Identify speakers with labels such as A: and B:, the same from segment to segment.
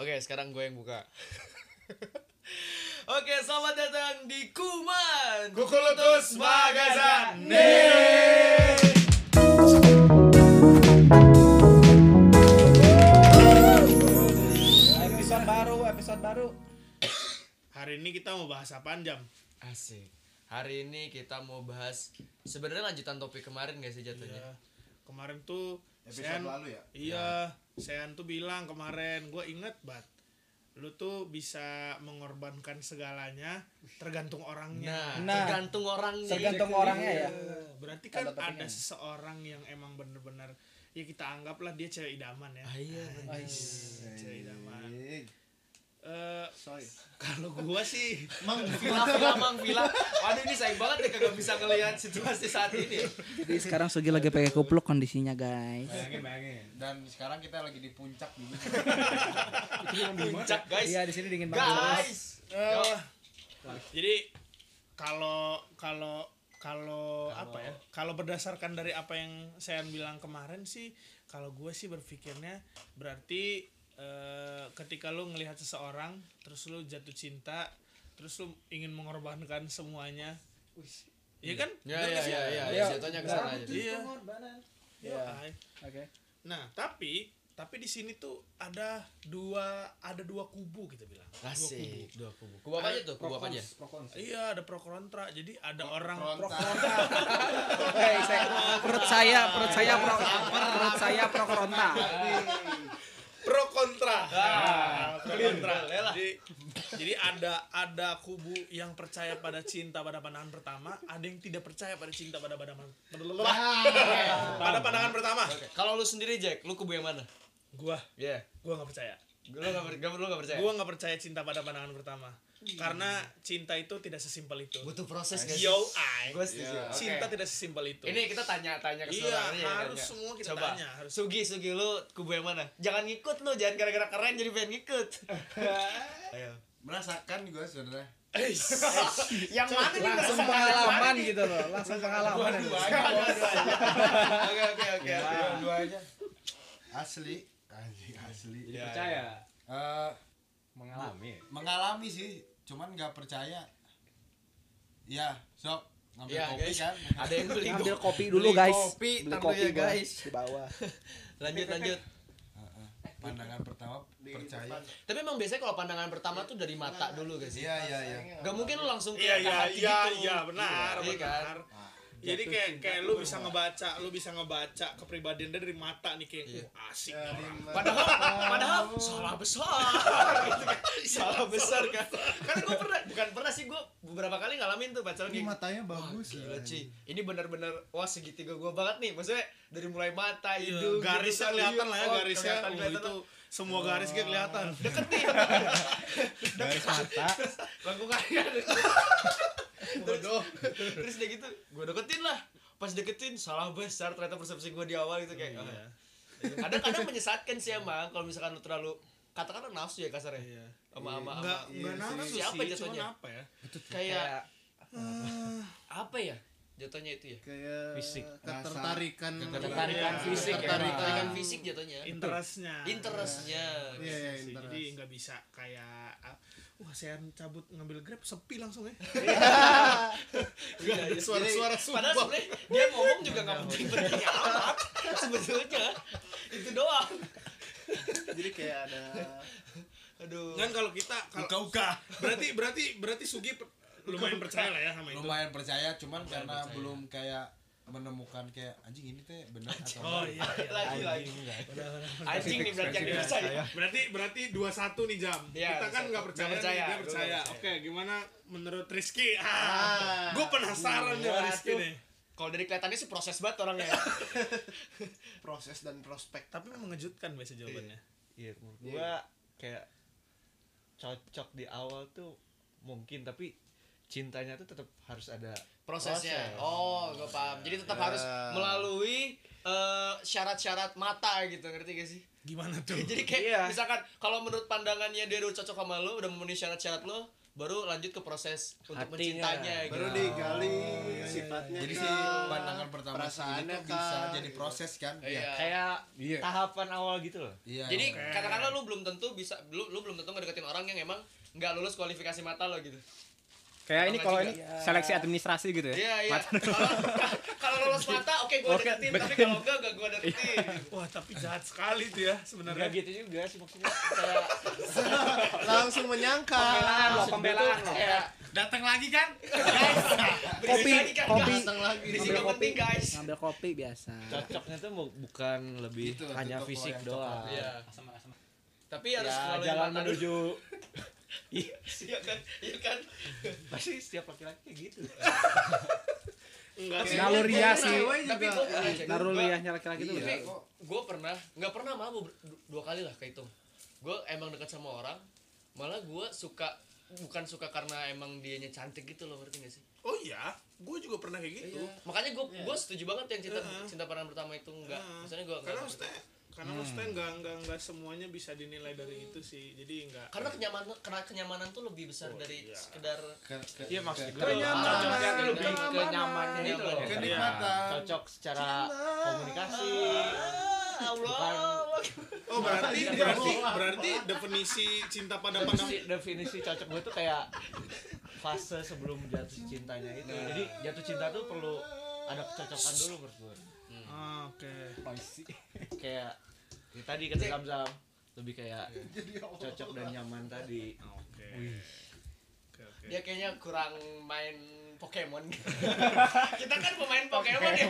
A: Oke, sekarang gue yang buka. Oke, selamat datang di Kuman.
B: Kukulutus Magazine.
C: episode baru episode baru
B: Hari ini kita mau bahas apaan jam?
A: Asik. Hari ini kita mau bahas sebenarnya lanjutan topik kemarin gak sih jatuhnya?
B: Ya, kemarin tuh
C: Iya. Episode lalu ya?
B: Iya, Sean tuh bilang kemarin gue inget bat. Lu tuh bisa mengorbankan segalanya tergantung orangnya. Iya,
A: Nah,
C: Nah,
A: tergantung orangnya.
C: tergantung
A: Itu
C: orangnya
A: dia.
C: ya.
B: Berarti kan
C: Tambah topiknya.
B: ada seseorang yang emang bener-bener ya kita anggaplah dia cewek idaman ya.
A: Ah, iya.
B: Ay, cewek idaman. Eh,
C: Soy.
B: kalau gua sih
A: Mang Vila, Vila, Mang Vila. Waduh ini sayang banget deh kagak bisa ngelihat situasi saat ini.
D: Jadi sekarang Sugi lagi pakai kupluk kondisinya guys.
C: Bayangin, bayangin. Dan sekarang kita lagi di puncak dulu.
A: Puncak guys.
D: Iya di sini dingin banget.
A: Guys.
B: Eh, jadi kalau kalau kalau apa ya? Kalau berdasarkan dari apa yang saya bilang kemarin sih, kalau gue sih berpikirnya berarti eh, ketika lu ngelihat seseorang, terus lu jatuh cinta, terus lu ingin mengorbankan semuanya, iya kan?
A: Ya ya
B: Bener nggak sih?
A: ya ya,
D: Iya.
A: jatuhnya ke sana aja.
B: Iya.
C: Iya.
B: Yoi.
D: Oke.
B: Nah tapi tapi di sini tuh ada dua ada dua kubu kita bilang. Dua kubu.
A: Asik. Dua kubu. Kubu apa aja tuh? Kubu apa aja?
B: Iya ada pro kontra. Jadi ada orang
D: Hei, saya- perut saya, perut saya pro, perut saya pro koronta.
A: Iya.
B: pro kontra. Ah, pro kontra.
A: Lelah.
B: Jadi, jadi ada ada kubu yang percaya pada cinta pada pandangan pertama, ada yang tidak percaya pada cinta pada pandangan pada pandangan pertama.
A: Kalau lu sendiri Jack, lu kubu yang mana?
B: Gua
A: Iya.
B: gua nggak percaya.
A: Lu enggak percaya? Lu enggak percaya?
B: Gua nggak percaya cinta pada pandangan pertama. Karena cinta itu tidak sesimpel itu.
A: butuh proses guys.
B: Yo, ay.
A: Gue setuju.
C: Iya.
B: Cinta tidak sesimpel itu.
A: Ini kita tanya-tanya ke
B: Iya,
A: saudara ya,
B: harus
A: tanya.
B: semua kita
A: Coba.
B: tanya, harus.
A: Sugi, Sugi lu kubu yang mana? Jangan ngikut lu, jangan gara-gara keren jadi pengen ngikut. Ayo.
E: merasakan juga sebenarnya
A: yang mana nih
D: Langsung pengalaman gitu loh, langsung pengalaman.
A: Oke, oke, oke.
E: dua aja asli anjing asli
A: Iya,
C: Percaya.
E: Eh,
C: Mengalami.
E: mengalami sih cuman nggak percaya ya sok ngambil
A: Iya,
E: kopi
A: guys.
E: kan
A: Ada yang beli
D: Ambil
A: kok.
D: kopi dulu guys.
A: kopi,
D: Beli
A: tentunya,
D: kopi guys
A: guys.
D: di bawah.
A: Lanjut, lanjut.
E: Heeh. pandangan pertama percaya
A: Tapi emang biasanya kalau pandangan pertama tuh dari mata dulu guys ya.
E: iya iya iya
A: Gak mungkin lu langsung ke
B: Iya, iya,
A: hati
B: iya,
A: gitu.
B: iya, Nah, benar,
A: Iya kan?
B: benar. Jadi kayak kayak lu bisa ngebaca, lu bisa ngebaca kepribadian dia dari mata nih kayak
A: Iya.
B: "Wah, asik nih orang.
A: Padahal, padahal salah besar. Gitu kan. salah besar kan. Kan gue pernah, bukan pernah sih gue beberapa kali ngalamin tuh pacaran
E: ini
A: kayak
E: matanya bagus
A: Gila
E: ya
A: Ci, ini bener-bener wah segitiga gua banget nih. Maksudnya dari mulai mata,
B: Iya,
A: hidung, gitu
B: garisnya
A: kan.
B: kelihatan lah ya,
A: Oh,
B: garisnya
A: kelihatan,
B: Oh,
A: kelihatan
B: itu semua garis kayak kelihatan.
A: deket nih.
C: Garis mata.
A: Lagu kaya.
B: Iya,
A: Bodoh. Terus dia gitu, gua deketin lah. Pas deketin salah besar ternyata persepsi gua di awal itu kayak.
B: Iya.
A: ah. Kadang-kadang menyesatkan sih emang kalau misalkan lu terlalu katakanlah nafsu ya kasarnya.
B: Iya.
A: Sama sama sama
B: Enggak enggak
E: Iya,
B: nafsu
A: sih. Siapa
B: sih, cuman
A: jatuhnya?
B: apa ya?
A: kayak apa ya? Jatuhnya itu ya.
E: kayak
C: Fisik.
E: ketertarikan
A: Ketertarikan
B: Iya.
A: fisik, ya.
E: Ketertarikan.
A: ketertarikan fisik jatuhnya.
B: Interestnya.
A: Interestnya.
E: iya iya
B: Sih,
E: interest.
B: Jadi nggak bisa kayak ah, wah saya cabut ngambil grab sepi langsung ya.
A: Iya, iya.
B: Suara-suara
A: Jadi, Padahal
B: sumpah.
A: sebenarnya dia ngomong juga nggak penting-penting amat sebetulnya. Itu doang.
C: Jadi kayak ada.
A: Aduh.
B: Kan kalau kita kalau
E: uga
B: berarti berarti berarti Sugi pe- lumayan percaya lah ya sama itu.
E: lumayan percaya cuman karena
A: percaya.
E: belum kayak menemukan kayak anjing ini teh bener atau
B: Oh
E: enggak."
B: iya. iya.
A: lagi lagi. Anjing nih berarti yang dipercaya.
B: Berarti berarti dua satu nih jam.
A: Iya,
B: Kita
A: dua-satu.
B: kan nggak percaya,
A: Nggak percaya,
B: nih, dia
A: gua
B: percaya.
A: nggak
B: Oke, gimana menurut Rizky? Ah, gue penasaran nih sama
A: Gua
B: Rizky
A: tuh-
B: nih.
A: Kalau dari kelihatannya sih proses banget orangnya. ya.
C: Proses dan prospek.
B: Tapi mengejutkan biasa jawabannya.
F: Iya, menurut gua kayak cocok di awal tuh mungkin tapi cintanya tuh tetap harus ada
A: Prosesnya. Oh, gue paham. Jadi tetap harus melalui eh, syarat-syarat mata gitu, ngerti gak sih?
B: Gimana tuh?
A: Jadi kayak
F: Iya.
A: misalkan kalau menurut pandangannya dia udah cocok sama lo, udah memenuhi syarat-syarat lo, baru lanjut ke proses untuk
D: Hatinya.
A: mencintanya gitu.
C: baru
B: Ah,
C: digali
B: iya,
C: sifatnya
E: Jadi
C: kah,
E: sih pandangan pertama sih
C: perasaannya
E: itu bisa
C: kah,
E: jadi
C: gitu.
E: proses kan?
F: Eh,
A: Iya.
F: kayak
D: Iya.
F: tahapan awal gitu loh
E: Iya.
A: Jadi
E: iya.
A: kadang-kadang lu belum tentu bisa lu, lu belum tentu ngedeketin orang yang emang nggak lulus kualifikasi mata lo gitu.
D: Kayak ini
A: Sama
D: kalau
A: juga.
D: ini seleksi administrasi gitu ya.
A: Iya iya.
D: Mata-
A: Kalau- Kalau lulus mata oke gua
D: Oke, Iya.
A: deketin tapi
D: deketin.
A: kalau enggak enggak gua deketin. gitu.
B: Wah, tapi jahat sekali tuh ya
F: nggak
B: sebenarnya.
F: gitu juga sih maksudnya kayak
C: langsung menyangka
D: loh, pembelaan loh.
A: Kayak
E: datang lagi kan?
A: berisi
D: Kopi,
A: Iya. lagi kan
D: kopi.
A: guys. Berisi nggak
D: Ngambil kopi.
A: penting guys.
D: Ngambil kopi biasa.
F: cocoknya tuh bu- bukan lebih
E: Gitu,
F: hanya
E: tutup
F: fisik
E: wayang
F: doang
A: Iya. Tapi harus
F: ya
A: melalui
F: jalan
A: mata dulu.
F: menuju Iya,
A: Iya kan? Iya kan?
F: pasti setiap laki-laki kayak gitu
A: Enggak ya sih.
B: gitu.
D: Naluriah ya sih.
A: Tapi gua ya
D: Naruh
A: gua-
D: liahnya laki-laki tuh.
E: Iya.
D: bener.
E: kok.
A: gue pernah nggak pernah mabuk du- dua kali lah kehitung gue emang dekat sama orang malah gue suka bukan suka karena emang dianya cantik gitu loh ngerti gak sih
B: Oh iya, gue juga pernah kayak gitu.
A: makanya gue gue setuju banget yang cinta
B: Iya.
A: cinta pandangan pertama itu enggak
B: Iya.
A: misalnya gue
B: Karena maksudnya karena maksudnya
E: Hmm.
B: nggak nggak nggak semuanya bisa dinilai dari itu sih. Jadi nggak.
A: karena kenyamanan karena kenyamanan tuh lebih
F: Oh,
A: besar dari sekedar
E: Ke- ke-
F: iya maksud gue
B: Kenyamanan,
F: cocoknya tuh lebih
A: kenyamanan. Gitu
F: ke nyamannya itu loh
E: ke-
A: Kenyamanan.
E: kenikmatan.
F: cocok secara komunikasi
A: Ah, Allah
B: Oh berarti
E: Iya.
B: berarti berarti definisi cinta pada
F: definisi,
B: pandang
F: definisi cocok gue tuh kayak fase sebelum jatuh cintanya itu jadi jatuh cinta tuh perlu ada kecocokan dulu menurut gue
B: Ah, Oke.
F: kayak ya tadi kata Zamzam lebih kayak cocok dan nyaman tadi
B: Oke. Oke, oke.
A: dia kayaknya kurang main Pokemon kita kan pemain Pokemon ya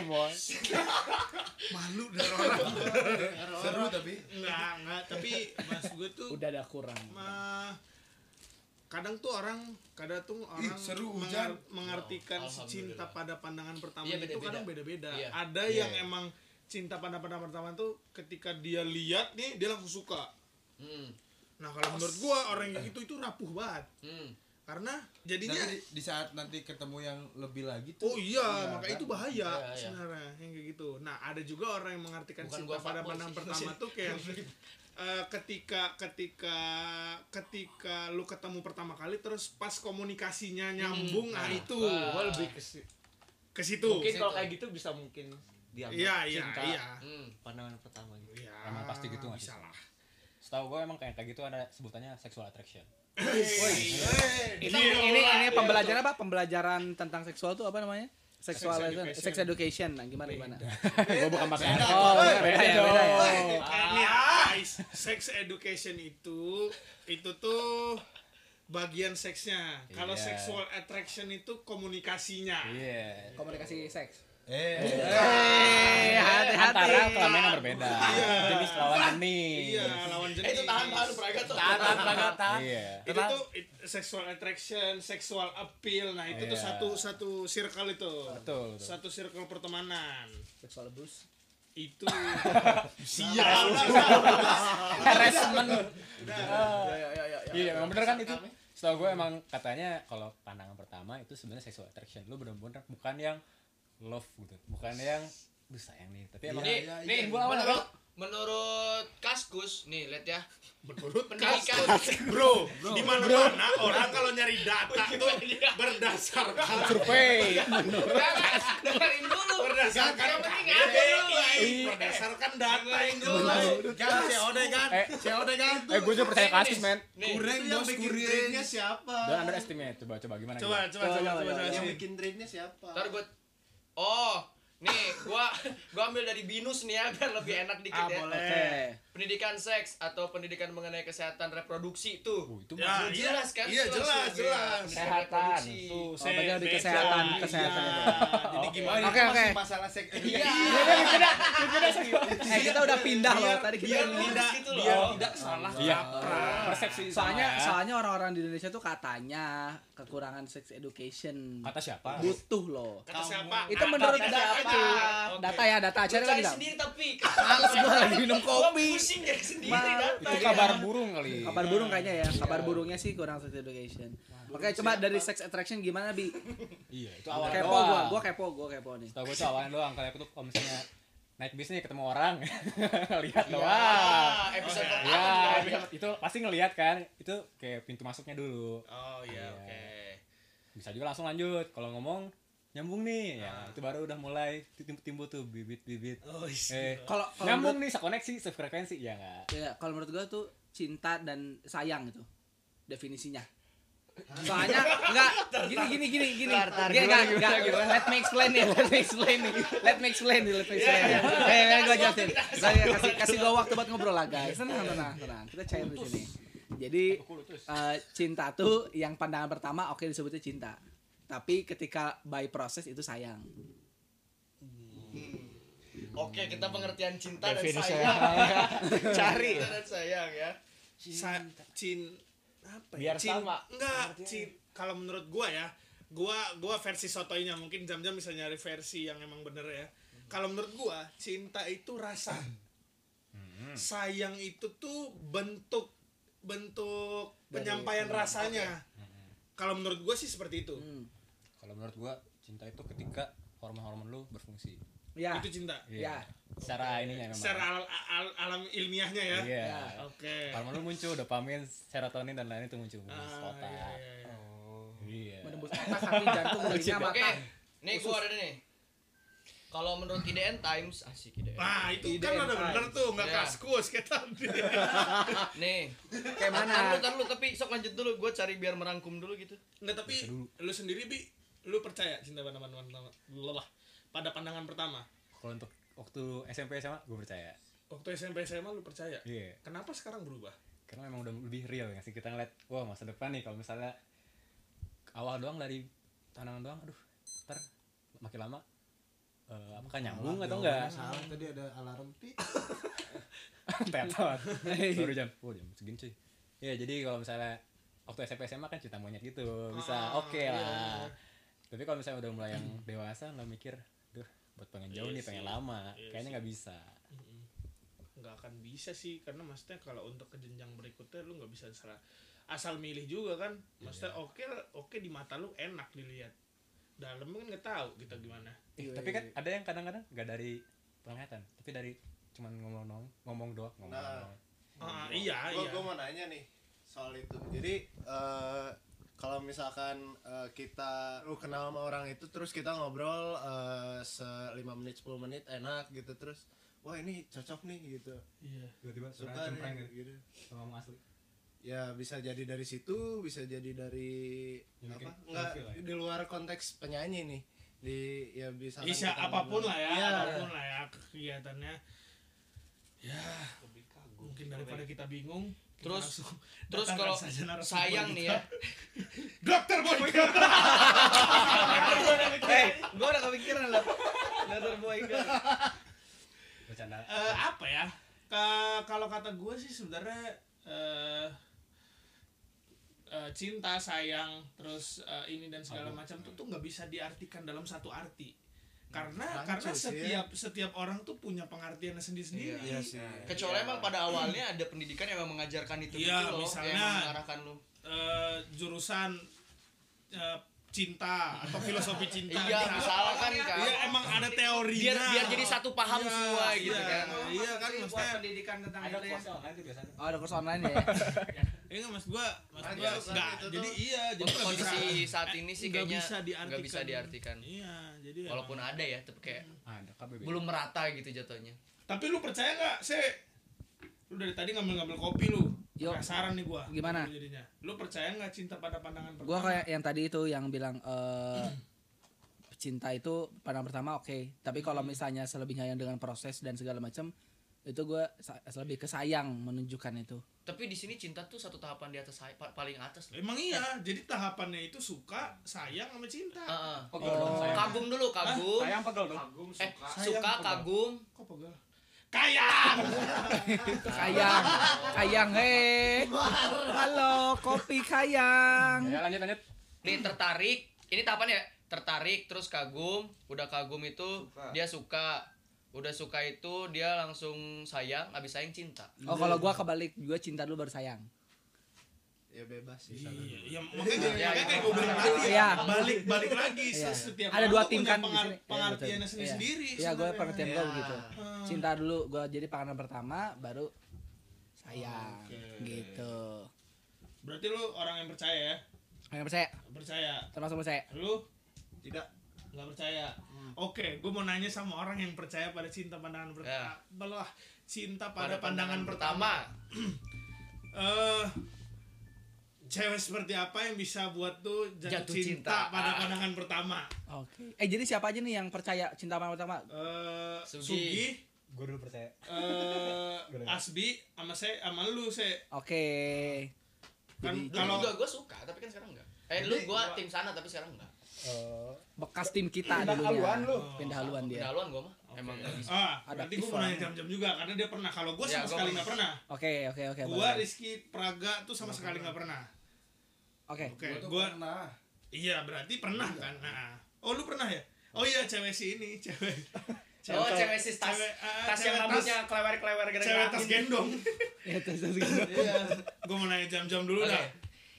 B: Malu dari orang.
E: Seru tapi
B: Enggak, enggak, tapi mas gue tuh
D: Udah ada kurang.
B: mah kadang tuh orang kadang tuh orang
E: seru
B: mengar-
E: hujan.
B: mengartikan si
A: Alhamdulillah.
B: cinta pada pandangan pertama
A: Iya,
B: itu
A: beda-beda.
B: kadang beda-beda.
A: Iya.
B: Ada
E: Iya,
B: yang
E: iya.
B: emang cinta pada pandangan pertama tuh ketika dia lihat nih dia langsung suka.
A: hmm.
B: Nah, kalau menurut gua orang yang gitu, itu itu rapuh banget.
A: Hmm.
B: Karena jadinya
E: tapi di, di saat nanti ketemu yang lebih lagi tuh
B: Oh iya,
E: Iya,
B: maka
E: kan?
B: itu bahaya
A: Iya, iya.
B: sebenarnya yang kayak gitu. Nah, ada juga orang yang mengartikan
A: Bukan
B: cinta
A: gua
B: pada
A: fuckboy
B: pandangan
A: sih.
B: pertama tuh kayak eh, ketika ketika ketika lu ketemu pertama kali terus pas komunikasinya nyambung nah, itu
F: gue lebih ke si-
B: ke situ.
F: mungkin kalau kayak gitu bisa mungkin diambil
B: Iya, iya,
F: cinta
B: iya.
A: Hmm.
F: pandangan pertama gitu
B: Iya.
G: Emang pasti gitu nggak sih?
B: bisa lah.
G: Setahu gue emang kayak kayak gitu ada sebutannya sexual attraction.
D: Ini ini ini pembelajaran apa? Pembelajaran tentang seksual tuh apa namanya? Sexual
B: Sex
D: education.
B: education.
D: Sex education. Nah, gimana gimana?
G: gue bukan pakai
D: Oh, beda, beda ya, beda ya.
B: Eh, nih, guys, sex education itu itu tuh bagian seksnya. Kalau
G: Iya.
B: sexual attraction itu komunikasinya.
G: Iya.
D: Komunikasi seks.
E: eh
D: Eh, hati-hati.
G: Antara kelamin yang berbeda. Jenis lawan jenis.
B: Iya, lawan jenis.
A: Eh, itu tahan tahan peragat tuh.
G: Iya.
B: itu tuh it- sexual attraction, sexual appeal. Nah, itu tuh
G: Iya.
B: satu satu circle itu.
G: Betul, betul.
B: Satu circle pertemanan.
D: Seksual abuse.
B: Itu
G: Harassment. Ah.
D: Ya ya ya ya.
G: Iya, emang bener kan itu. Setahu gue emang katanya kalau pandangan pertama itu sebenarnya sexual attraction. Lu bener-bener bukan yang love gitu. Bukan yang Duh sayang nih,
D: Iya.
G: tapi emang
A: Nih, nih,
G: gue awal
A: Ya, menurut, menurut Kaskus, nih lihat ya.
B: menurut
A: Pendidikan.
B: bro, di mana-mana orang kalau nyari
C: Oh,
B: data
C: iya,
B: tuh berdasarkan
G: survei.
A: Jangan, dengerin dulu.
B: berdasarkan
A: Yang penting ada dulu.
B: KPI, berdasarkan data
A: Dengerin
B: itu.
A: dulu.
E: kan COD kan
G: Eh,
E: COD kan
G: eh gue juga percaya kasus, men.
A: Nih,
E: kurang
C: yang
E: bos
C: bikin
E: kurang
C: trade-nya siapa
G: Don't underestimate. Coba coba gimana?
B: Coba,
G: gimana?
B: coba, coba, coba, coba.
C: yang
B: sih.
C: bikin trade-nya siapa
A: ntar gua Oh, nih gua gua ambil dari Binus nih ya biar lebih enak dikit
B: Ah,
A: ya.
B: boleh.
D: Oke.
A: Pendidikan seks atau pendidikan mengenai kesehatan reproduksi tuh.
G: Uh, itu
B: Ya,
A: Udah
B: iya.
A: jelas kan?
B: Iya, jelas,
A: ya.
B: jelas.
A: Pendidikan
F: kesehatan
A: reproduksi.
D: Oh,
F: tuh
D: bagian lebih kesehatan,
B: Iya,
D: kesehatan
B: iya.
D: itu.
B: Jadi gimana?
D: Oke, oke.
E: masalah seks
A: Iya.
D: Eh, kita udah pindah loh tadi
A: Biar
D: kita.
A: lurus gitu loh.
G: salah. Iya. Persepsi
D: Soalnya
G: sama ya.
D: soalnya orang-orang di Indonesia tuh katanya kekurangan sex education.
G: kata siapa?
D: Butuh loh.
B: Kata siapa?
D: Itu menurut
A: kata
D: data
A: siapa?
D: itu.
A: Oke.
D: Data ya, data
A: Lu
D: cari
A: cari
D: lagi dah.
A: sendiri tapi
D: Males gua lagi minum kopi.
A: Gua pusing dari sendiri
D: Mal.
A: data.
G: Itu
A: ya.
G: kabar burung kali.
D: Kabar burung kayaknya ya. Kabar burungnya sih kurang sex education. Oke, coba dari sex attraction gimana, Bi?
G: Iya, itu awal
D: Kepo
G: doang.
D: gua, gua kepo, gua kepo nih.
G: Tahu gue tuh awalnya doang kalau aku tuh
D: Iya.
G: kalau misalnya naik bis nih ketemu orang lihat doang.
A: Ah, episode pertama.
G: Ya, tapi itu pasti ngelihat kan itu kayak pintu masuknya dulu
B: Oh iya,
G: Iya.
B: oke.
G: bisa juga langsung lanjut kalau ngomong nyambung nih ya itu baru udah mulai tim- timbul tuh bibit-bibit
B: Ah. Oh, is-
G: eh
D: Kalau kalau
G: nyambung nih sekoneksi sefrekuensi ya nggak
D: Ya, kalau menurut gua tuh cinta dan sayang itu definisinya. Soalnya enggak gini gini gini gini. Gini enggak enggak let me explain nih, let me explain nih. Let me explain nih, let me explain. nih. Eh, biar gua jelasin. Saya kasih kasih gua waktu buat ngobrol lah, guys. Tenang, tenang, tenang. Kita cair di sini. Jadi eh, cinta tuh yang pandangan pertama oke disebutnya cinta. Tapi ketika by proses itu sayang.
A: Oke, kita pengertian cinta dan
F: Definisi
A: sayang.
B: Cari.
A: Cinta dan sayang ya.
B: Sa- cin apa ya?
G: Biar
B: cin,
G: sama.
B: Enggak, cin. Kalau menurut gua ya, gua gua versi sotoinya mungkin jam-jam bisa nyari versi yang emang bener ya. Kalau menurut gua, cinta itu rasa.
G: Hmm.
B: Sayang itu tuh bentuk bentuk penyampaian rasanya.
G: Hmm.
B: Kalau menurut gua sih seperti itu.
D: Hmm.
G: kalau menurut gua cinta itu ketika hormon-hormon lu berfungsi
D: Ya.
B: Itu cinta.
D: Ya.
G: Iya, secara ininya memang
B: Secara al- al- alam ilmiahnya ya.
G: iya
D: Ya.
B: Oke.
G: hormon lu muncul dopamin serotonin dan lain itu muncul
B: Ah,
G: di
B: iya,
G: otak
B: iya, iya.
D: Oh.
G: iya
D: Menembus otak, hati, jantung, telinga,
A: Oke.
D: mata.
A: Nih gua ada nih. Kalau menurut IDN Times, asik IDN.
B: Wah, itu kan
D: Ide
B: udah
D: and
B: bener tuh, nggak
A: Ya.
B: kaskus kayak tadi.
A: Nih.
D: Kayak mana?
A: Ntar lu, ntar lu, tapi sok lanjut dulu. Gua cari biar merangkum dulu gitu.
B: Nggak, tapi lu sendiri bi, lu percaya cinta pada pandangan pertama? Lelah. Pada pandangan pertama.
G: kalau untuk waktu SMP sama gue percaya
B: Waktu SMP SMA lu percaya?
G: Iya.
B: Kenapa sekarang berubah?
G: karena memang udah lebih real nggak sih kita ngeliat wah masa depan nih kalau misalnya awal doang dari tantangan doang aduh ntar makin lama eh, apakah nyambung atau
A: Iya.
G: enggak
E: Iya. Salah tadi ada alarm pi.
G: tetot baru jam oh jam segini cuy ya jadi kalau misalnya waktu SMP SMA kan cerita monyet gitu bisa oke lah tapi kalau misalnya udah mulai yang dewasa lo mikir duh buat pengen jauh nih pengen lama kayaknya nggak bisa
B: Nggak akan bisa sih, karena maksudnya kalau untuk ke jenjang berikutnya lu nggak bisa salah asal milih juga kan. Maksudnya oke oke di mata lu enak dilihat. Dalam kan nggak tahu kita gimana.
G: Ih, tapi kan ada yang kadang-kadang nggak dari penglihatan tapi dari cuman ngomong doang ngomong doang ngomong
C: Nah.
G: doang.
B: Ah, iya,
C: Gua-
B: iya.
C: gua mau nanya nih soal itu. Gitu. Jadi eh, kalau misalkan eh, kita lu kenal sama orang itu terus kita ngobrol eh, se 5 menit 10 menit enak gitu terus wah ini cocok nih gitu.
B: Iya.
E: Tiba-tiba
C: Suka nih gitu.
E: ngomong asli.
C: Ya bisa jadi dari situ, bisa jadi dari
E: Ya,
C: apa?
E: kayak
C: Enggak
E: profil lah ya.
C: di luar konteks penyanyi nih. Di ya bisa
B: Isya apapun lah ya,
C: Iya.
B: apapun lah ya kegiatannya. Ya, mungkin daripada kita bingung.
A: gitu,
B: kita
A: Terus-
B: langsung
A: Terus
B: datangkan
A: kalau
B: saja narasumber
A: sayang
B: kita.
A: nih ya.
B: Dokter Boyka.
D: Eh, gua udah kepikiran loh. Leather boy kan.
G: bercanda
B: Eh, apa ya? Ka- kalau kata gue sih sebenarnya eh eh, cinta sayang terus eh, ini dan segala macam itu tuh nggak bisa diartikan dalam satu arti karena karena
C: Rancu sih ya.
B: setiap setiap orang tuh punya pengertiannya sendiri-sendiri
C: Iya sih.
A: Kecuali emang pada awalnya ada pendidikan yang memang mengajarkan itu gitu
B: Iya,
A: loh.
B: misalnya.
A: Yang mengarahkan lu.
B: eh, jurusan eh, cinta atau filosofi cinta
A: Iya,
B: Nah,
A: misalnya kan kan.
B: iya, emang ada teorinya
A: Biar biar jadi satu paham
B: Iya,
A: semua gitu
B: iya,
A: kan.
B: iya kan maksudnya
D: pendidikan tentang
G: ada kuasa online tuh biasanya
D: Oh, ada kursus online ya.
B: ini Iya nggak mas gua mas
C: Ada
B: gua
C: jurusan
B: nggak
C: itu tuh.
B: jadi iya jadi
A: Untuk
B: nggak
A: kondisi
B: bisa-
A: saat ini sih
B: nggak
A: kayaknya
B: bisa
A: nggak bisa diartikan.
B: iya jadi emang-
A: Walaupun ada ya, tapi kayak
G: Ah, ada KBB
A: belum merata gitu jatuhnya.
B: tapi lu percaya nggak sih lu dari tadi ngambil ngambil kopi lu
D: Yo.
B: penasaran nih gua
D: Gimana?
B: jadinya lu percaya nggak cinta pada pandangan pertama
D: Gua kayak yang tadi itu yang bilang eh cinta itu pandang pertama oke, tapi kalau
B: Hmm.
D: misalnya selebihnya yang dengan proses dan segala macam itu gua sa- lebih ke sayang menunjukkan itu.
A: Tapi di sini cinta tuh satu tahapan di atas saya- pa- paling atas loh.
B: emang iya jadi tahapannya itu suka sayang sama cinta
A: Heeh.
B: Oh,
G: dong
D: Oh,
G: sayang
A: Kagum dulu, kagum.
G: sayang pegel dong
A: Eh, suka, kagum.
B: kok pegel kayang
D: Kayang, kayang hei. Halo, kopi kayang.
G: ya lanjut lanjut
A: Nih tertarik. Ini tahapan ya tertarik terus kagum, udah kagum itu dia suka. Udah suka itu dia langsung sayang, abis sayang cinta.
D: Oh, kalau gua kebalik, gua cinta dulu baru sayang.
C: Ya bebas sih.
B: iya makanya
A: Iya,
B: makanya
A: iya.
B: kayak gua bilang tadi ya,
D: Iya.
B: balik balik lagi
D: Iya.
B: setiap
D: Ada
B: orang
D: dua
B: tuh
D: tim
B: punya
D: kan di
B: pengar-
D: sini. Iya,
B: pengertiannya
D: betul.
B: sendiri sendiri
D: Iya, gua
B: sebenarnya.
D: pengertian gua begitu.
B: Hmm.
D: cinta dulu gue jadi panganan pertama baru sayang
B: Oh, Oke.
D: Gitu.
B: Berarti lu orang yang percaya ya?
D: Yang percaya,
B: Percaya.
D: termasuk percaya.
B: Lu
C: Tidak.
B: nggak percaya. Oke, gue mau nanya sama orang yang percaya pada cinta pandangan pertama.
A: Ya.
B: Belah cinta pada, pandangan, pertama. Eh cewek seperti apa yang bisa buat tuh jatuh,
A: Jatuh
B: cinta,
A: cinta.
B: pada
A: Ah.
B: pandangan pertama?
D: Oke. Eh jadi siapa aja nih yang percaya cinta pandangan pertama?
B: Eh
A: Sugi.
B: Sugi,
G: Gue dulu percaya.
B: eh Asbi sama saya sama lu saya
D: Oke.
B: kan
A: Dulu
B: kalau
A: juga gue suka, tapi kan sekarang enggak. Eh, lu gue tim sana tapi sekarang enggak.
D: Bekas tim kita
G: Pindah
D: dulunya.
G: haluan lu.
D: Oh, Pindah haluan dia.
A: Daluan gue mah. Emang enggak bisa.
B: ah
D: Ada
B: berarti gue mau
D: aktif
B: nanya
D: orangnya.
B: jam-jam juga karena dia pernah kalau gue
A: Ya,
B: sama
A: gua
B: sekali
A: pernah.
B: nggak pernah
D: Oke, oke, oke.
B: gue
D: boleh.
B: Rizky Praga tuh sama sekali nggak pernah
D: Oke.
B: oke
E: Gua tuh
B: gue
E: pernah.
B: iya berarti pernah kan nah oh lu pernah ya oh iya cewek si ini cewek
A: Oh, cewek sis tas.
B: cewek, ah,
A: Tas yang
B: cewek
A: rambutnya kelewer-kelewer
B: tas, cewek
A: gara-gara.
B: tas gitu
A: angin.
B: gendong
D: Ya, terus, terus.
B: iya gue mau nanya jam-jam dulu
A: Oke.
B: dah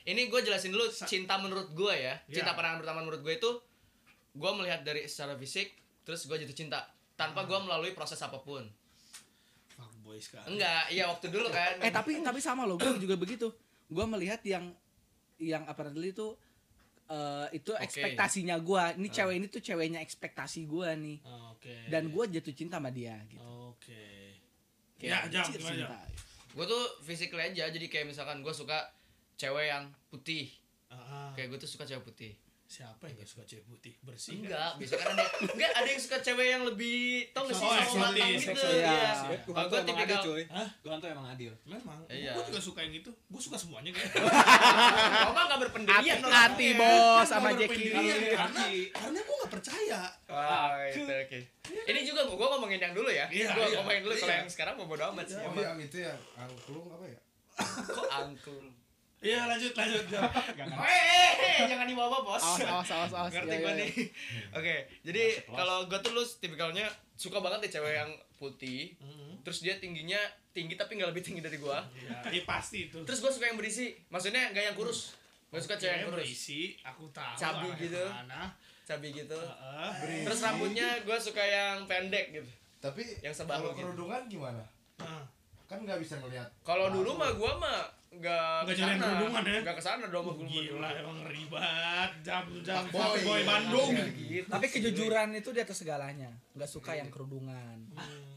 A: Ini gue jelasin dulu cinta menurut gue ya. Cinta
B: Ya.
A: pandangan pertama menurut gue itu gue melihat dari secara fisik, terus gue jatuh cinta tanpa gue melalui proses apapun.
B: fuckboy sekali
A: Enggak, iya waktu dulu kan.
D: Eh tapi tapi sama loh, gue juga begitu. Gue melihat yang yang apparently itu eh itu
A: Oke.
D: ekspektasinya gue. Ini cewek ini tuh ceweknya ekspektasi gue nih.
B: oke
D: Dan gue jatuh cinta sama dia gitu.
B: oke ya jam
D: Jatuh
B: gimana jam
D: cinta.
A: Gue tuh physically aja, jadi kayak misalkan gue suka cewek yang putih.
B: Ah, ah.
A: Kayak gue tuh suka cewek putih.
B: siapa yang gak suka cewek putih bersih kan?
A: Enggak, biasanya kan ada enggak ada yang suka cewek yang lebih tau gak sih
B: Oh,
A: sama matang
B: eksotis,
A: gitu.
B: eksotis.
A: Iya.
G: Gue
A: Kalau gue tipikal
G: cuy.
B: Hah?
G: Gue tuh emang adil.
B: Memang,
A: Iya.
B: gue juga suka yang itu. Gue suka semuanya kayak.
A: Kau mah gak berpendirian
D: Hati-
A: lo.
D: hati bos sama
B: Iya,
D: Jackie.
B: karena karena gue gak percaya.
A: Wah, itu oke. Ini juga gue ngomongin yang dulu ya.
B: Iya,
A: gue
B: iya,
A: ngomongin dulu kalau
B: iya.
A: yang sekarang mau bodo amat sih.
E: Oh,
A: emang.
E: yang itu ya, angklung apa ya?
A: Kok angklung?
B: Iya lanjut lanjut. Jam.
A: Hei, jangan dibawa bos.
D: Awas, awas, awas, awas.
A: Ngerti
D: Ya,
A: gue
D: ya,
A: nih.
D: ya.
A: Oke, jadi kalau gue tuh lu tipikalnya suka banget deh cewek yang putih. Terus dia tingginya tinggi tapi nggak lebih tinggi dari gue.
B: Iya iya, pasti itu.
A: Terus gue suka yang berisi. Maksudnya nggak yang kurus. Gue suka cewek yang
B: Oke,
A: kurus.
B: berisi, aku tahu.
A: Cabi
B: arahnya
A: gitu.
B: Mana?
A: Cabi gitu.
B: Heeh.
A: Terus rambutnya gue suka yang pendek gitu.
E: Tapi
A: Yang sebahu
E: kalau
A: gitu.
E: kerudungan gimana?
B: Nah,
E: Kan nggak bisa ngelihat.
A: Kalau dulu mah gue mah nggak
B: Nggak jalan kerudungan ya?
A: Nggak kesana dong sama
B: gila emang ribet. Jam jam
E: Boy.
B: boy, Bandung.
A: Gitu.
D: Tapi kejujuran itu di atas segalanya. Gak suka yang kerudungan.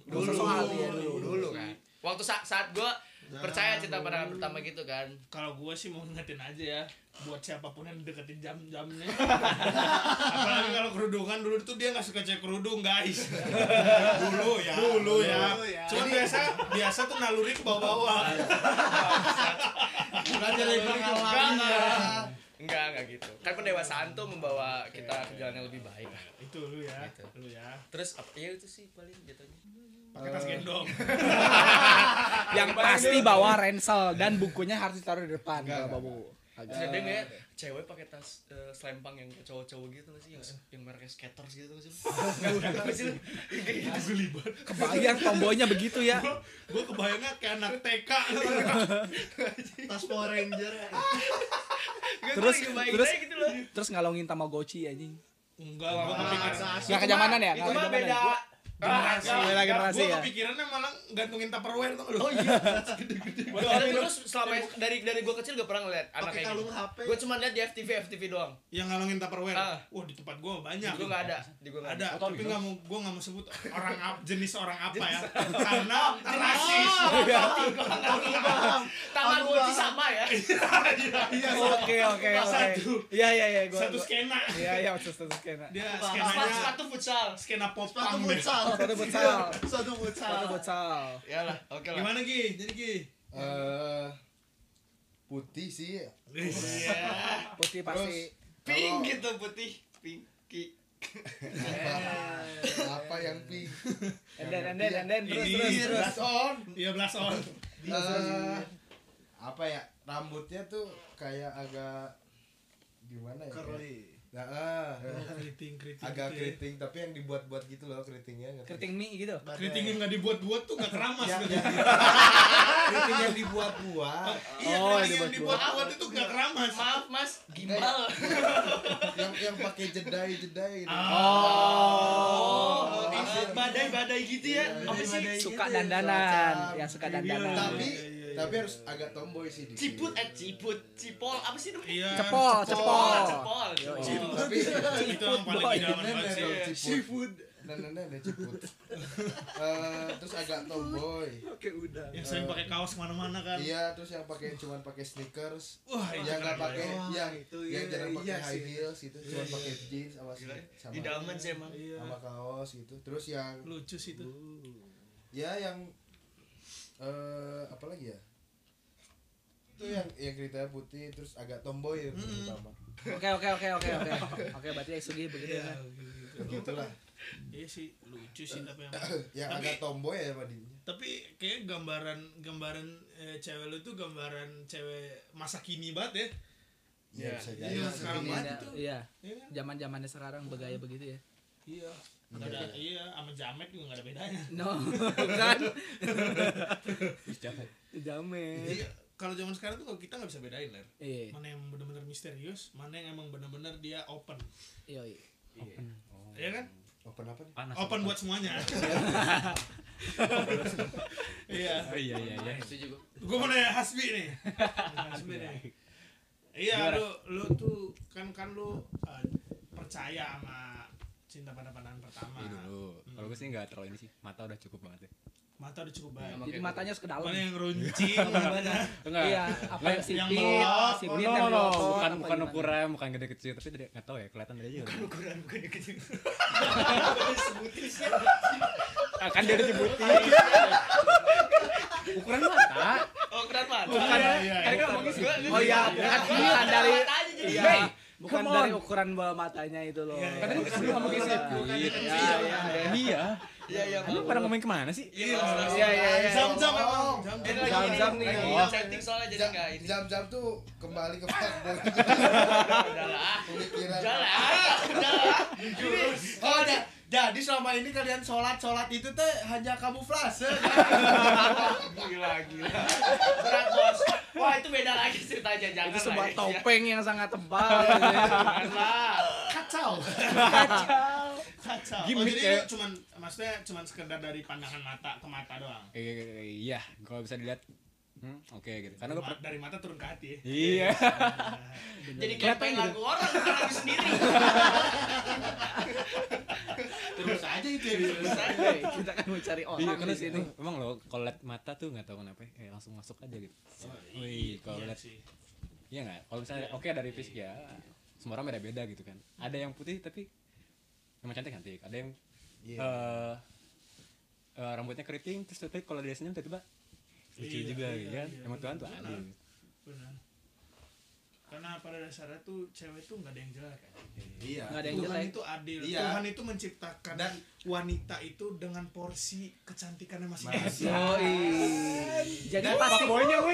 A: dulu
D: Soal
A: dulu,
D: dia
A: dulu, kan waktu saat, saat gue percaya cinta pandangan pertama gitu kan
B: Kalau gue sih mau ngingetin aja ya buat siapapun yang deketin jam-jamnya. Apalagi kalau kerudungan dulu tuh dia nggak suka cek kerudung guys. dulu ya. Dulu ya.
C: Dulu ya.
B: Cuma biasa biasa tuh naluri ke bawah-bawah.
E: Belajar dari pengalaman.
B: ya.
A: enggak enggak enggak gitu kan pendewasaan tuh membawa kita ke jalan yang lebih baik lah.
B: itu lu ya lu ya
A: terus apa ya itu sih paling jatuhnya
B: pakai tas gendong
D: Yang pasti bawa ransel dan bukunya harus ditaruh di depan. Gak bawa buku. Agak.
A: ada nggak ya cewek pakai tas eh, selempang yang cowok-cowok gitu nggak sih yang, yang mereknya skaters gitu nggak sih nggak sih lu?
D: Kebayang tomboynya begitu ya.
B: gue kebayangnya kayak anak TK
C: Tas Power Ranger.
A: Nggak, gua
D: Terus-
A: lagi baik
D: terus-
A: aja gitu loh
D: Terus ngalongin Tamagotchi anjing.
B: enggak gue kepikiran
C: Masa
D: Gak kejamanan ya?
A: itu mah beda
B: generasi
D: Ah, beda generasi
B: gue
D: ya.
B: kepikirannya malah gantungin tupperware tuh lu oh
A: Karena terus selama dari dari gue kecil gak pernah ngeliat anak
C: Pakai
A: kayak
C: kalung
A: gitu.
C: HP.
A: Gue cuma liat di FTV FTV doang.
B: yang ngalungin tupperware
A: Ah.
B: wah di tempat gue
A: Di
B: banyak
A: gue gak Iya. ada. Di gue gak ada.
B: ada
G: Oh, tahu
B: tapi
G: gitu.
B: nggak mau gue nggak mau sebut orang ap- jenis orang apa ya karena rasis
A: Tangan gue sih sama ya.
D: Iya, Oke oke oke. Iya iya iya gua.
B: satu
D: gua-
B: skena
D: Iya iya maksud satu skena.
B: dia
A: Sepatu
B: skenanya
A: sepatu futsal.
B: skena pop
C: Satu
B: punk deh.
C: futsal.
D: Satu futsal.
C: Satu
D: Satu
C: futsal.
D: futsal.
A: Ya lah, oke lah.
B: gimana Gi? jadi Gi
E: Eh, putih sih.
D: Putih
A: Iya.
D: pasti.
A: Pink
E: Kalau-
A: gitu putih, pinky. gitu.
E: Apa yang pink?
D: And then and then and then terus terus
B: Ini-
D: terus.
E: Blast on.
B: iya blast on
E: Eh, apa ya? Rambutnya tuh kayak agak gimana ya?
C: Curly.
E: Nah, ah.
B: keriting keriting
E: agak
B: gitu ya.
E: keriting tapi yang dibuat-buat gitu loh keritingnya. ngerti?
D: Keriting mie gitu.
B: keriting yang nggak dibuat-buat tuh nggak keramas
E: yang,
B: gitu.
E: yang, keriting yang dibuat-buat
B: Iya, keriting
D: Oh,
B: yang
D: dibuat-buat.
B: dibuat-buat itu nggak keramas.
A: Maaf Mas, gimbal.
E: yang yang pakai jedai-jedai gitu.
A: Oh, ini badai-badai gitu ya.
E: Iya,
A: Apa sih?
E: badai-badai
D: Suka
E: gitu,
D: dandanan,
E: cuaca.
D: yang suka
B: Iya,
D: dandanan.
E: Tapi
B: iya, iya,
E: Tapi harus agak tomboy sih di
A: Ciput eh ciput, cipol apa sih namanya?
B: Iya.
D: Cepol,
A: Cepol,
D: cepol.
A: cepol.
E: Ciput,
A: Cipol.
E: tapi
B: Itu yang paling idaman
E: Iya,
B: banget sih.
E: nenek
A: sih.
E: seafood nenek ciput Eh, terus agak tomboy
D: Oke, udah.
B: Yang sering pakai kaos kemana-mana kan.
E: iya terus yang pakai cuman pakai sneakers
B: Wah, itu
E: yang nggak
B: keren
E: pakai ya.
B: banget.
E: yang
D: itu
E: yang
D: iya,
E: jarang
D: iya
E: pakai
D: sih.
E: high heels gitu cuman pakai jeans sama
A: Gila,
E: sama
A: Di dalam sih emang.
B: Iya.
E: sama kaos gitu terus yang
B: Lucu sih itu.
E: ya yang eh apa lagi ya itu yang yang ceritanya putih terus agak tomboy ya terutama
D: Oke, oke, oke, oke, oke. Oke, berarti SUG
G: Iya.
E: Iya.
D: begitu ya.
E: gitulah
B: Iya sih, Iya, gitu. lucu sih tapi yang
E: yang
B: Tapi-
E: agak tomboy ya padinya
B: tapi kayak gambaran gambaran eh, cewek lu tuh gambaran cewek masa kini banget ya.
E: Iya,
A: Iya.
E: bisa jadi.
B: Iya, sekarang
E: Iya.
B: banget
D: Iya,
B: itu.
D: Iya,
B: Iya kan?
D: zaman-zamannya sekarang bergaya begitu ya.
B: Iya. Nggak ada iya sama jamet juga nggak ada bedanya.
D: No, kan?
G: Ih, capek.
E: Iya.
G: Iya.
D: Jamet.
B: Jadi Iya. kalau zaman sekarang tuh kalau kita nggak bisa bedain ler.
D: Iya,
B: Mana yang benar-benar misterius, mana yang emang benar-benar dia open.
D: iya.
B: Iya kan?
E: open apa nih
G: Panas.
B: Open buat semuanya. Iya.
G: Oh, iya iya iya.
A: Setuju gua.
B: Gue mau nanya Hasbi nih. Hasbi nih. Iya, lu lu tuh kan kan lu uh, percaya sama cinta pada pandangan pertama.
G: Ini dulu. Kalau gue sih nggak terlalu ini sih. Mata udah cukup banget ya.
E: Iya.
B: Mata udah cukup baik.
G: Iya,
A: Sama
D: Jadi
A: kayak
D: matanya ke dalam.
B: Mana yang runcing, mana
G: Enggak.
D: Iya, apa yang
B: Yang
D: sipit,
B: melot,
C: Oh,
D: sipit
G: oh, no,
D: yang
G: no,
D: melotot,
G: bukan
D: apa
G: bukan
D: gimana?
G: ukuran, bukan gede kecil, tapi tidak nggak tahu ya kelihatan dari aja. Bukan ukuran, bukan gede kecil. Akan Ah, kan dia disebutin.
C: Iya.
G: ukuran mata,
A: Oh, keren banget.
G: bukan.
B: iya,
G: Kan
B: bukan.
G: kan ngomongin sih.
D: Oh iya, bukan bukan dari iya,
G: Hey,
D: bukan
G: come on.
D: dari ukuran bawah matanya itu loh.
B: Iya, iya.
G: Kan tadi sebelum ngomongin sih.
D: Iya, iya, iya.
G: Iya.
A: Iya, iya.
G: Lu pada ngomongin kemana sih?
A: Iya,
D: Iya, iya, iya.
B: Jam-jam
E: Oh.
B: emang. Jam-jam.
A: Ini lagi
D: Jam-
A: ini,
D: jam nih.
A: lagi
G: Oh.
A: setting soalnya jadi
E: jam,
A: enggak ini.
E: jam jam tuh kembali ke fuckboy
A: Udahlah.
E: pemikiran
A: Udahlah. Udahlah. Jurus.
C: Oh, ja- jadi selama ini kalian sholat sholat itu teh hanya kamuflase.
A: Gila, gila. Berat, Bos. Wah, itu beda lagi ceritanya. Jangan
D: Itu sebuah
A: lah,
G: Iya.
A: ya.
D: topeng yang sangat tebal. gitu ya.
A: Jangan lah.
C: Kacau.
B: Kacau. Oh,
G: Gimik,
B: jadi
G: ya.
B: lu cuman maksudnya cuman sekedar dari pandangan mata ke mata doang.
G: Eh, Iya, kalau bisa dilihat. Hmm, oke gitu. Karena gue
B: Ma- dari mata turun ke hati ya.
G: Iya.
A: Jadi kepeng lagu orang bukan lagu sendiri.
E: terus aja itu ya
D: Hey, Kita kan mau cari
G: Iya,
D: orang
G: karena
D: di sini.
G: Emang lo kalau lihat mata tuh nggak tahu kenapa, eh langsung masuk aja gitu. Wih, kalau
B: Iya
G: lihat
B: sih.
G: iya nggak? Kalau misalnya oke dari fisik ya, semua orang beda-beda gitu kan. Ada yang putih tapi emang cantik cantik. Ada yang eh eh, rambutnya keriting terus tapi kalau dia senyum tiba-tiba lucu
B: Iya,
G: juga
B: iya,
G: gitu kan.
B: iya,
G: emang Tuhan tuh
B: benar.
G: adil.
B: Benar. Karena pada dasarnya tuh cewek tuh nggak ada yang jelek kan.
E: iya
D: Nggak ada yang
B: Tuhan
D: jelek.
B: itu adil.
E: Iya.
B: Tuhan itu menciptakan
E: Dan-
B: wanita itu dengan porsi kecantikannya
E: Masing.
B: masing-masing.
D: Yoi. Jadi pasti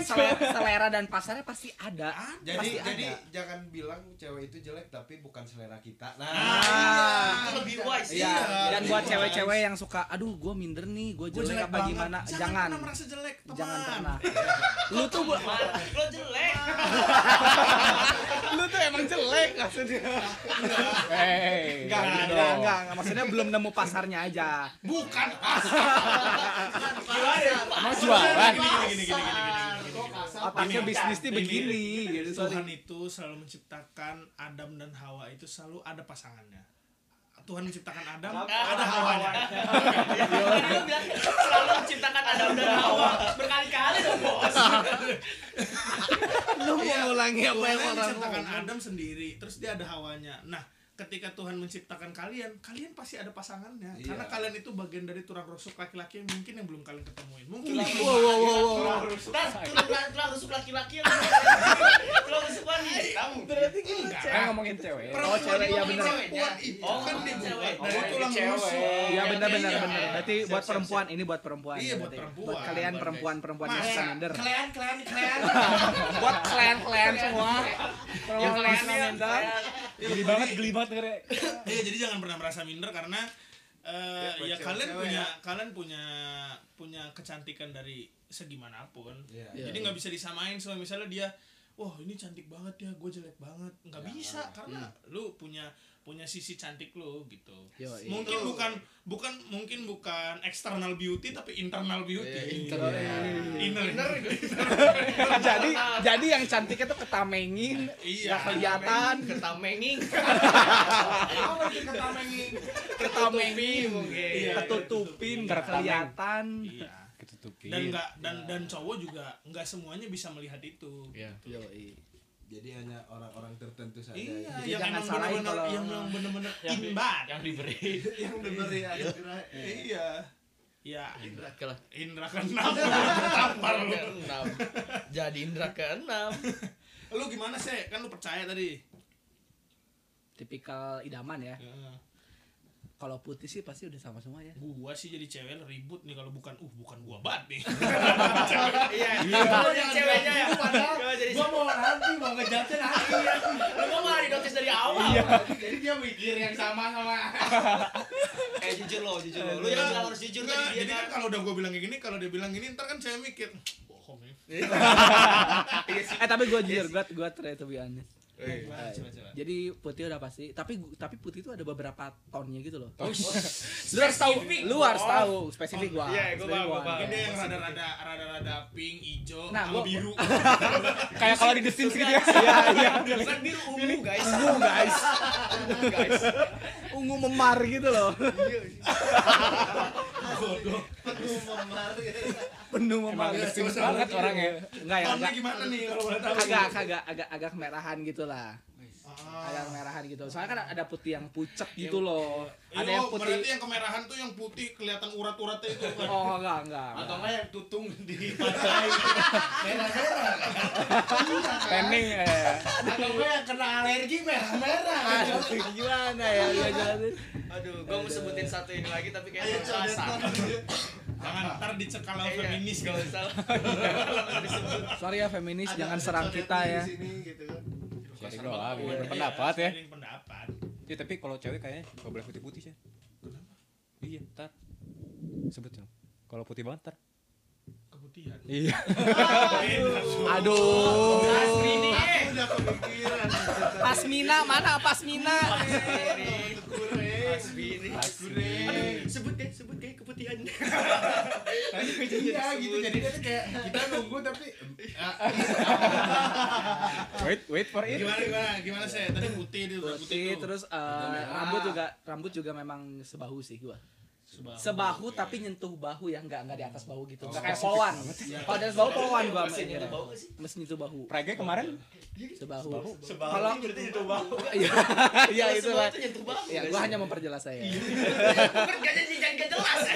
D: selera, selera dan pasarnya pasti ada.
E: jadi
D: pasti
E: jadi
D: ada.
E: jangan bilang cewek itu jelek tapi bukan selera kita nah,
D: Ah.
A: Itu lebih wise.
D: Iya, dan
E: Iya,
D: buat
E: iya.
D: cewek-cewek yang suka, aduh gue minder nih, gue
B: Gua
D: jelek, apa
B: banget.
D: gimana,
B: Jangan,
D: jangan,
B: pernah merasa jelek, teman. Iya.
D: jangan pernah. Lu tuh bu-
A: Mana? Lo jelek.
D: lu tuh emang jelek maksudnya.
G: Hey,
D: Enggak,
G: gitu
B: Iya.
D: enggak,
G: dong.
D: enggak, enggak, enggak, maksudnya belum nemu pasarnya aja.
B: Bukan.
G: Mau jualan.
B: Gini, gini, gini, gini, gini, gini, gini, gini.
D: Otaknya
B: Gini,
D: kan? bisnis tuh
B: gini,
D: begini,
B: gini.
D: gitu.
B: Tuhan
D: Sorry.
B: itu selalu menciptakan Adam dan Hawa itu selalu ada pasangannya. Tuhan menciptakan Adam, ada Hawanya.
A: Tadi lo bilang selalu menciptakan Adam dan Hawa berkali-kali dong, Bos.
D: Lu mau ngulangi apa
B: Tuhan yang
D: yang orang
B: Iya, menciptakan
D: ngomong.
B: Adam sendiri, terus dia ada hawanya. Nah, ketika Tuhan menciptakan kalian, kalian pasti ada pasangannya.
E: Iya.
B: Karena kalian itu bagian dari turang rusuk laki-laki yang mungkin yang belum kalian ketemuin. Mungkin
D: Wih,
B: kalian
D: wow, wow, wow, wow.
B: turang rusuk.
A: Tas, tulang tulang rusuk laki-laki. Tulang rusuk wanita.
D: Berarti gini,
B: Enggak.
G: Kan ngomongin cewek.
D: Oh, cewek ya benar.
A: Perempuan itu. Oh, kan dia cewek.
B: Dari tulang rusuk.
D: Iya benar benar
B: Iya.
D: benar. Berarti
B: Siap,
D: buat
B: siap,
D: perempuan ini buat perempuan.
B: Iya, buat
D: berarti.
B: perempuan.
D: Buat kalian
A: Buat
D: perempuan-perempuan yang
B: Masa?
D: suka minder.
C: Kalian kalian kalian.
D: Buat kalian-kalian semua. Yang kalian suka minder.
G: Geli banget, geli banget dengernya.
B: Iya, jadi jangan pernah merasa minder karena eh, ya, kalian punya kalian punya punya kecantikan dari segimanapun.
E: Iya.
B: Jadi nggak bisa disamain sama misalnya dia wah ini cantik banget ya gue jelek banget nggak bisa karena lu punya punya sisi cantik lu gitu
D: Yoi.
B: mungkin bukan bukan mungkin bukan external beauty tapi internal beauty Iya.
G: internal.
A: iya.
B: inner,
D: jadi jadi yang cantiknya tuh ketamengin
B: Iya.
D: nggak kelihatan
A: ketamenging
E: Apa itu kata menging?
D: ketamengin
A: mungkin.
B: Iya,
D: ketutupin
B: ketutupin.
D: nggak kelihatan
B: iya
G: ketutupin
B: dan nggak dan dan cowok juga nggak semuanya bisa melihat itu
A: Iya.
D: Yoi.
E: Jadi hanya orang-orang tertentu saja.
B: Iya,
D: Jadi
B: yang
D: jangan
B: emang
D: salahin
B: bener-bener
D: kalau-
B: yang memang bener-bener
A: Yang di-
B: imbat.
A: yang diberi
C: yang denger ya Indra.
B: Iya. Ya,
A: Oke lah.
B: Indra kan kenapa? Tampar lu. Iya.
A: Keenam. jadi Indra keenam
B: Lu gimana sih? Kan lu percaya tadi.
D: tipikal idaman ya
B: Ya.
D: kalau putih sih pasti udah sama semua ya
B: Gua sih jadi cewek ribut nih kalau bukan uh bukan gua banget nih.
A: iya Lu jadi ceweknya ya
B: Iya.
A: Gua jadi
E: Gua mau nanti mau ngejatuhin nanti ya.
A: lu mau malah didotis dari awal
E: Jadi dia mikir yang sama sama.
A: eh jujur lo jujur lo lu yang bilang harus jujur
B: Nggak,
A: tadi dia
B: jadi
A: kan
B: kan kalau udah gua bilang kayak gini, kalau dia bilang gini ntar kan cewek mikir bohong ya.
D: eh tapi gue jujur gue gue try to be honest
B: Gimana, coba coba.
D: jadi putih udah pasti tapi gu- tapi putih itu ada beberapa tonnya gitu loh lu harus tahu lu harus tahu spesifik gua
A: Iya, gua paham,
D: Spesifik
A: gua
D: gua.
A: paham.
B: Mungkin dia yang rada-rada rada-rada pink, hijau,
D: Nah,
B: sama
D: gua-
B: biru.
G: kayak kalau di The Sims gitu ya
A: bukan biru ungu guys
D: ungu guys
A: ungu guys
D: ungu memar gitu loh
B: Bodoh.
C: Penuh memar.
D: penuh memar
G: emang The Sims banget orang ya
D: enggak ya
B: Tone-nya
D: enggak
B: gimana nih kalau boleh tahu?
D: agak agak agak agak merahan gitu lah
B: Ah.
D: agak merahan gitu soalnya kan ada putih yang pucet gitu loh ada yang
B: oh, berarti
D: putih
B: yang kemerahan tuh yang putih kelihatan urat-uratnya itu kan.
D: oh enggak enggak enggak.
C: enggak yang tutung di
E: Merah-merah.
G: tanning eh.
E: Atau gua yang kena alergi merah-merah.
D: Aduh, gimana ya dia jelasin
A: aduh gua mau sebutin satu ini lagi tapi
C: Ayo
A: kayaknya
C: coba
A: salah
B: Jangan ntar dicekal sama
A: Iya,
B: feminis
A: gak
B: kalau
A: usah Langsung disebut
D: sorry ya feminis jangan serang kita ya
C: Di sini gitu kan.
G: Jadi
A: Kasar
G: gua
A: banget.
G: lagi
A: Iya,
G: berpendapat ya.
B: Feeling pendapat.
G: Ya tapi kalau cewek kayaknya gak boleh putih-putih sih. Kenapa? Iya, ntar sebut dong. Kalau putih banget ntar.
B: Keputihan.
G: Iya.
D: aduh
A: Asmini
C: Aku udah kepikiran.
D: pasmina mana pasmina
C: Kureng.
A: Asmini
C: Kureng.
A: sebut deh sebut deh keputihan
E: Iya gitu jadi dia tuh kayak kita nunggu tapi
G: Wait, wait for it.
B: Gimana gimana gimana sih? Tadi putih dia udah putih
D: putih
B: tuh.
D: terus eh, rambut juga rambut juga memang sebahu sih gua
B: Sebahu.
D: sebahu tapi nyentuh bahu ya nggak nggak di atas bahu gitu nggak kayak polwan kalau di atas bahu polwan gua
A: Mesin
D: mesin
A: itu bau gak sih?
D: mesin itu bahu
G: Praga kemarin
D: sebahu
C: Sebahu
D: Kalau-
C: ini berarti itu bau.
D: iya iya
A: Kalau
D: itu
A: semua
D: lah
A: tuh nyentuh bau
D: ya
A: guys.
D: gua hanya memperjelas saya
A: kerjanya jadi gak jelas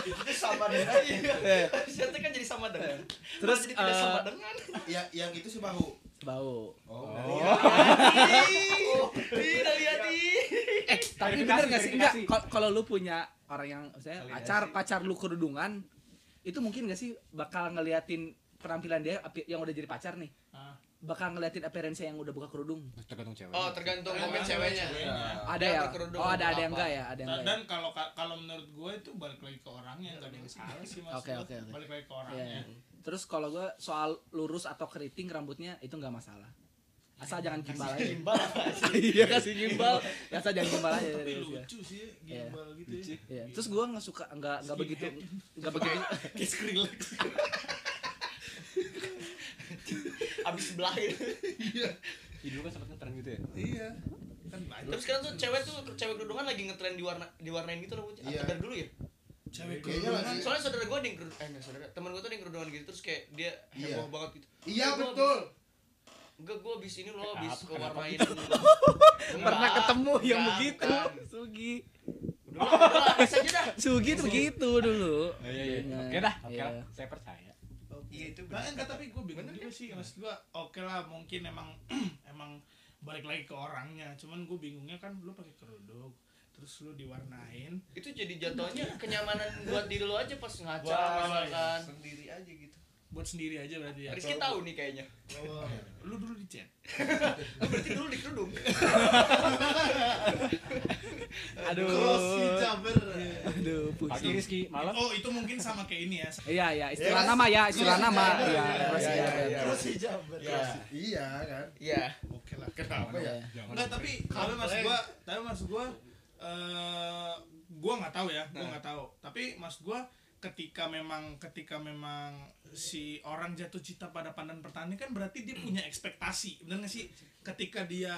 C: Itu sama dengan
A: Siapa kan jadi sama dengan Malah
D: Terus,
A: jadi tidak
D: eh,
A: sama dengan
E: ya yang itu sebahu.
D: sebahu
E: Oh.
A: tidak lihat
D: eh tapi bener nggak sih enggak kal- kalau lu punya orang yang saya pacar pacar lu kerudungan itu mungkin nggak sih bakal ngeliatin penampilan dia api- yang udah jadi pacar nih
B: Ah.
D: bakal ngeliatin appearance yang udah buka kerudung
G: tergantung cewek.
A: Oh tergantung komen ceweknya
D: ada
A: Dia
D: ya
A: berkerudung
D: oh ada ada yang
A: apa?
D: enggak ya ada yang
B: Nah, Dan,
D: enggak
B: dan kalau ka- kalau menurut gue itu balik lagi ke orangnya nggak ada yang salah sih mas.
D: Oke, oke, oke.
B: Balik lagi ke
D: ya? Iya,
B: orangnya.
D: iya. terus kalau gue soal lurus atau keriting rambutnya itu nggak masalah asal jangan gimbal aja iya kasih gimbal asal jangan gimbal aja
B: Tapi
D: serius gua.
B: lucu sih
D: Iya.
B: gimbal gitu ya.
D: Iya. terus gue nggak suka nggak nggak begitu nggak begitu
B: Kayak Skrillex.
A: Abis sebelah gitu
G: dulu kan sempat ngetren gitu ya.
E: Iya.
B: Kan banyak.
A: Tapi sekarang tuh cewek tuh cewek kerudungan lagi ngetren diwarna diwarnain gitu rambutnya.
E: Iya.
A: Iya. Dari dulu ya.
B: Cewek gitu kan.
E: Kayaknya
D: Iya,
B: kerudungan.
E: lagi-
A: Soalnya saudara gue ada yang kerudung, eh enggak saudara, teman gue tuh ada yang kerudungan gitu terus kayak dia
E: Iya.
A: heboh banget gitu.
E: Iya
A: Gua
E: betul.
A: abis- Enggak, gue abis ini loh abis
G: Kenapa?
A: kewarnain.
D: pernah ketemu yang
A: gitu. enggak,
D: begitu
A: bukan.
D: Sugi
A: Udah, udah, bisa aja dah.
D: Sugi tuh begitu dulu
G: Iya, iya.
D: Iya.
G: Oke dah, oke
D: Iya.
G: lah. Saya percaya.
A: Iya itu
B: Nah, enggak tapi gue bingung
A: kan?
B: juga sih maksud gue oke lah mungkin emang emang balik lagi ke orangnya cuman gue bingungnya kan lu pakai kerudung terus lu diwarnain
A: Itu jadi jatuhnya kenyamanan buat diri lo aja pas ngaca
B: Wah, iya,
A: misalkan.
C: sendiri aja gitu.
B: buat sendiri aja berarti ya
A: Rizky tahu nih kayaknya.
B: lu dulu di chat
A: Lu berarti dulu di kerudung.
C: Cross
D: Aduh.
C: hijaber.
D: Aduh,
G: Pagi
D: pusing.
G: Rizky, malam
B: Oh, itu mungkin sama kayak ini ya.
D: Iya, iya, istilah
C: Yes.
D: nama ya, istilah
C: Yes.
D: nama.
C: Yes.
D: Iya,
C: Yes.
D: cross
C: Yes.
D: hijaber.
G: Yes.
C: Cross hijaber.
G: Iya.
E: Iya kan.
A: Iya.
B: Oke lah.
E: Apa ya?
B: Enggak, tapi tapi maksud gua, tapi maksud gua eh gua nggak tahu
A: Iya.
B: ya, gua nggak tahu. Tapi maksud gua ketika memang ketika memang si orang jatuh cinta pada pandan petani kan berarti
A: Hmm.
B: dia punya ekspektasi. Bener nggak sih? Ketika dia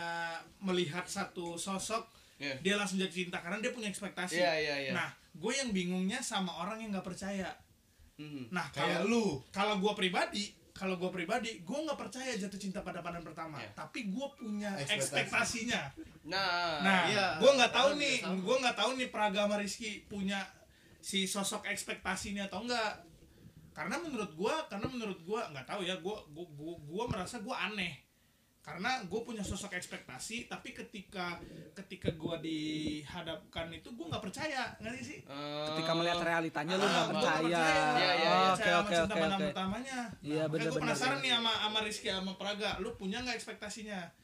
B: melihat satu sosok
A: Iya.
B: dia langsung jatuh cinta karena dia punya ekspektasi.
A: Iya, iya, iya.
B: Nah, gue yang bingungnya sama orang yang nggak percaya.
A: Mhm.
C: Hmm.
B: Nah, kalau lu, kalau gua pribadi, kalau gua pribadi, gua nggak percaya jatuh cinta pada pandan pertama,
A: Iya.
B: tapi gua punya
E: Ekspektasi.
B: ekspektasinya.
A: Nah,
B: Nah,
C: Iya.
B: gua nggak tahu
C: Orang
B: nih,
C: juga sama.
B: gua nggak tahu nih Pragama Rizky punya si sosok ekspektasinya atau enggak. Karena menurut gua, karena menurut gua nggak tahu ya, gua gua, gua, gua merasa gua aneh. Karena gue punya sosok ekspektasi, tapi ketika ketika gue dihadapkan itu gue nggak percaya, ngerti sih?
A: eh,
D: Ketika melihat realitanya lu nggak
B: Ah, gua
D: percaya. Ah,
A: Iya, iya, iya.
D: Oke, oke, oke, oke.
B: pertamanya.
D: Iya,
B: Nah, makanya
D: bener,
B: gua
D: bener,
B: penasaran
D: bener.
B: nih sama sama Rizky sama Praga, lu punya nggak ekspektasinya?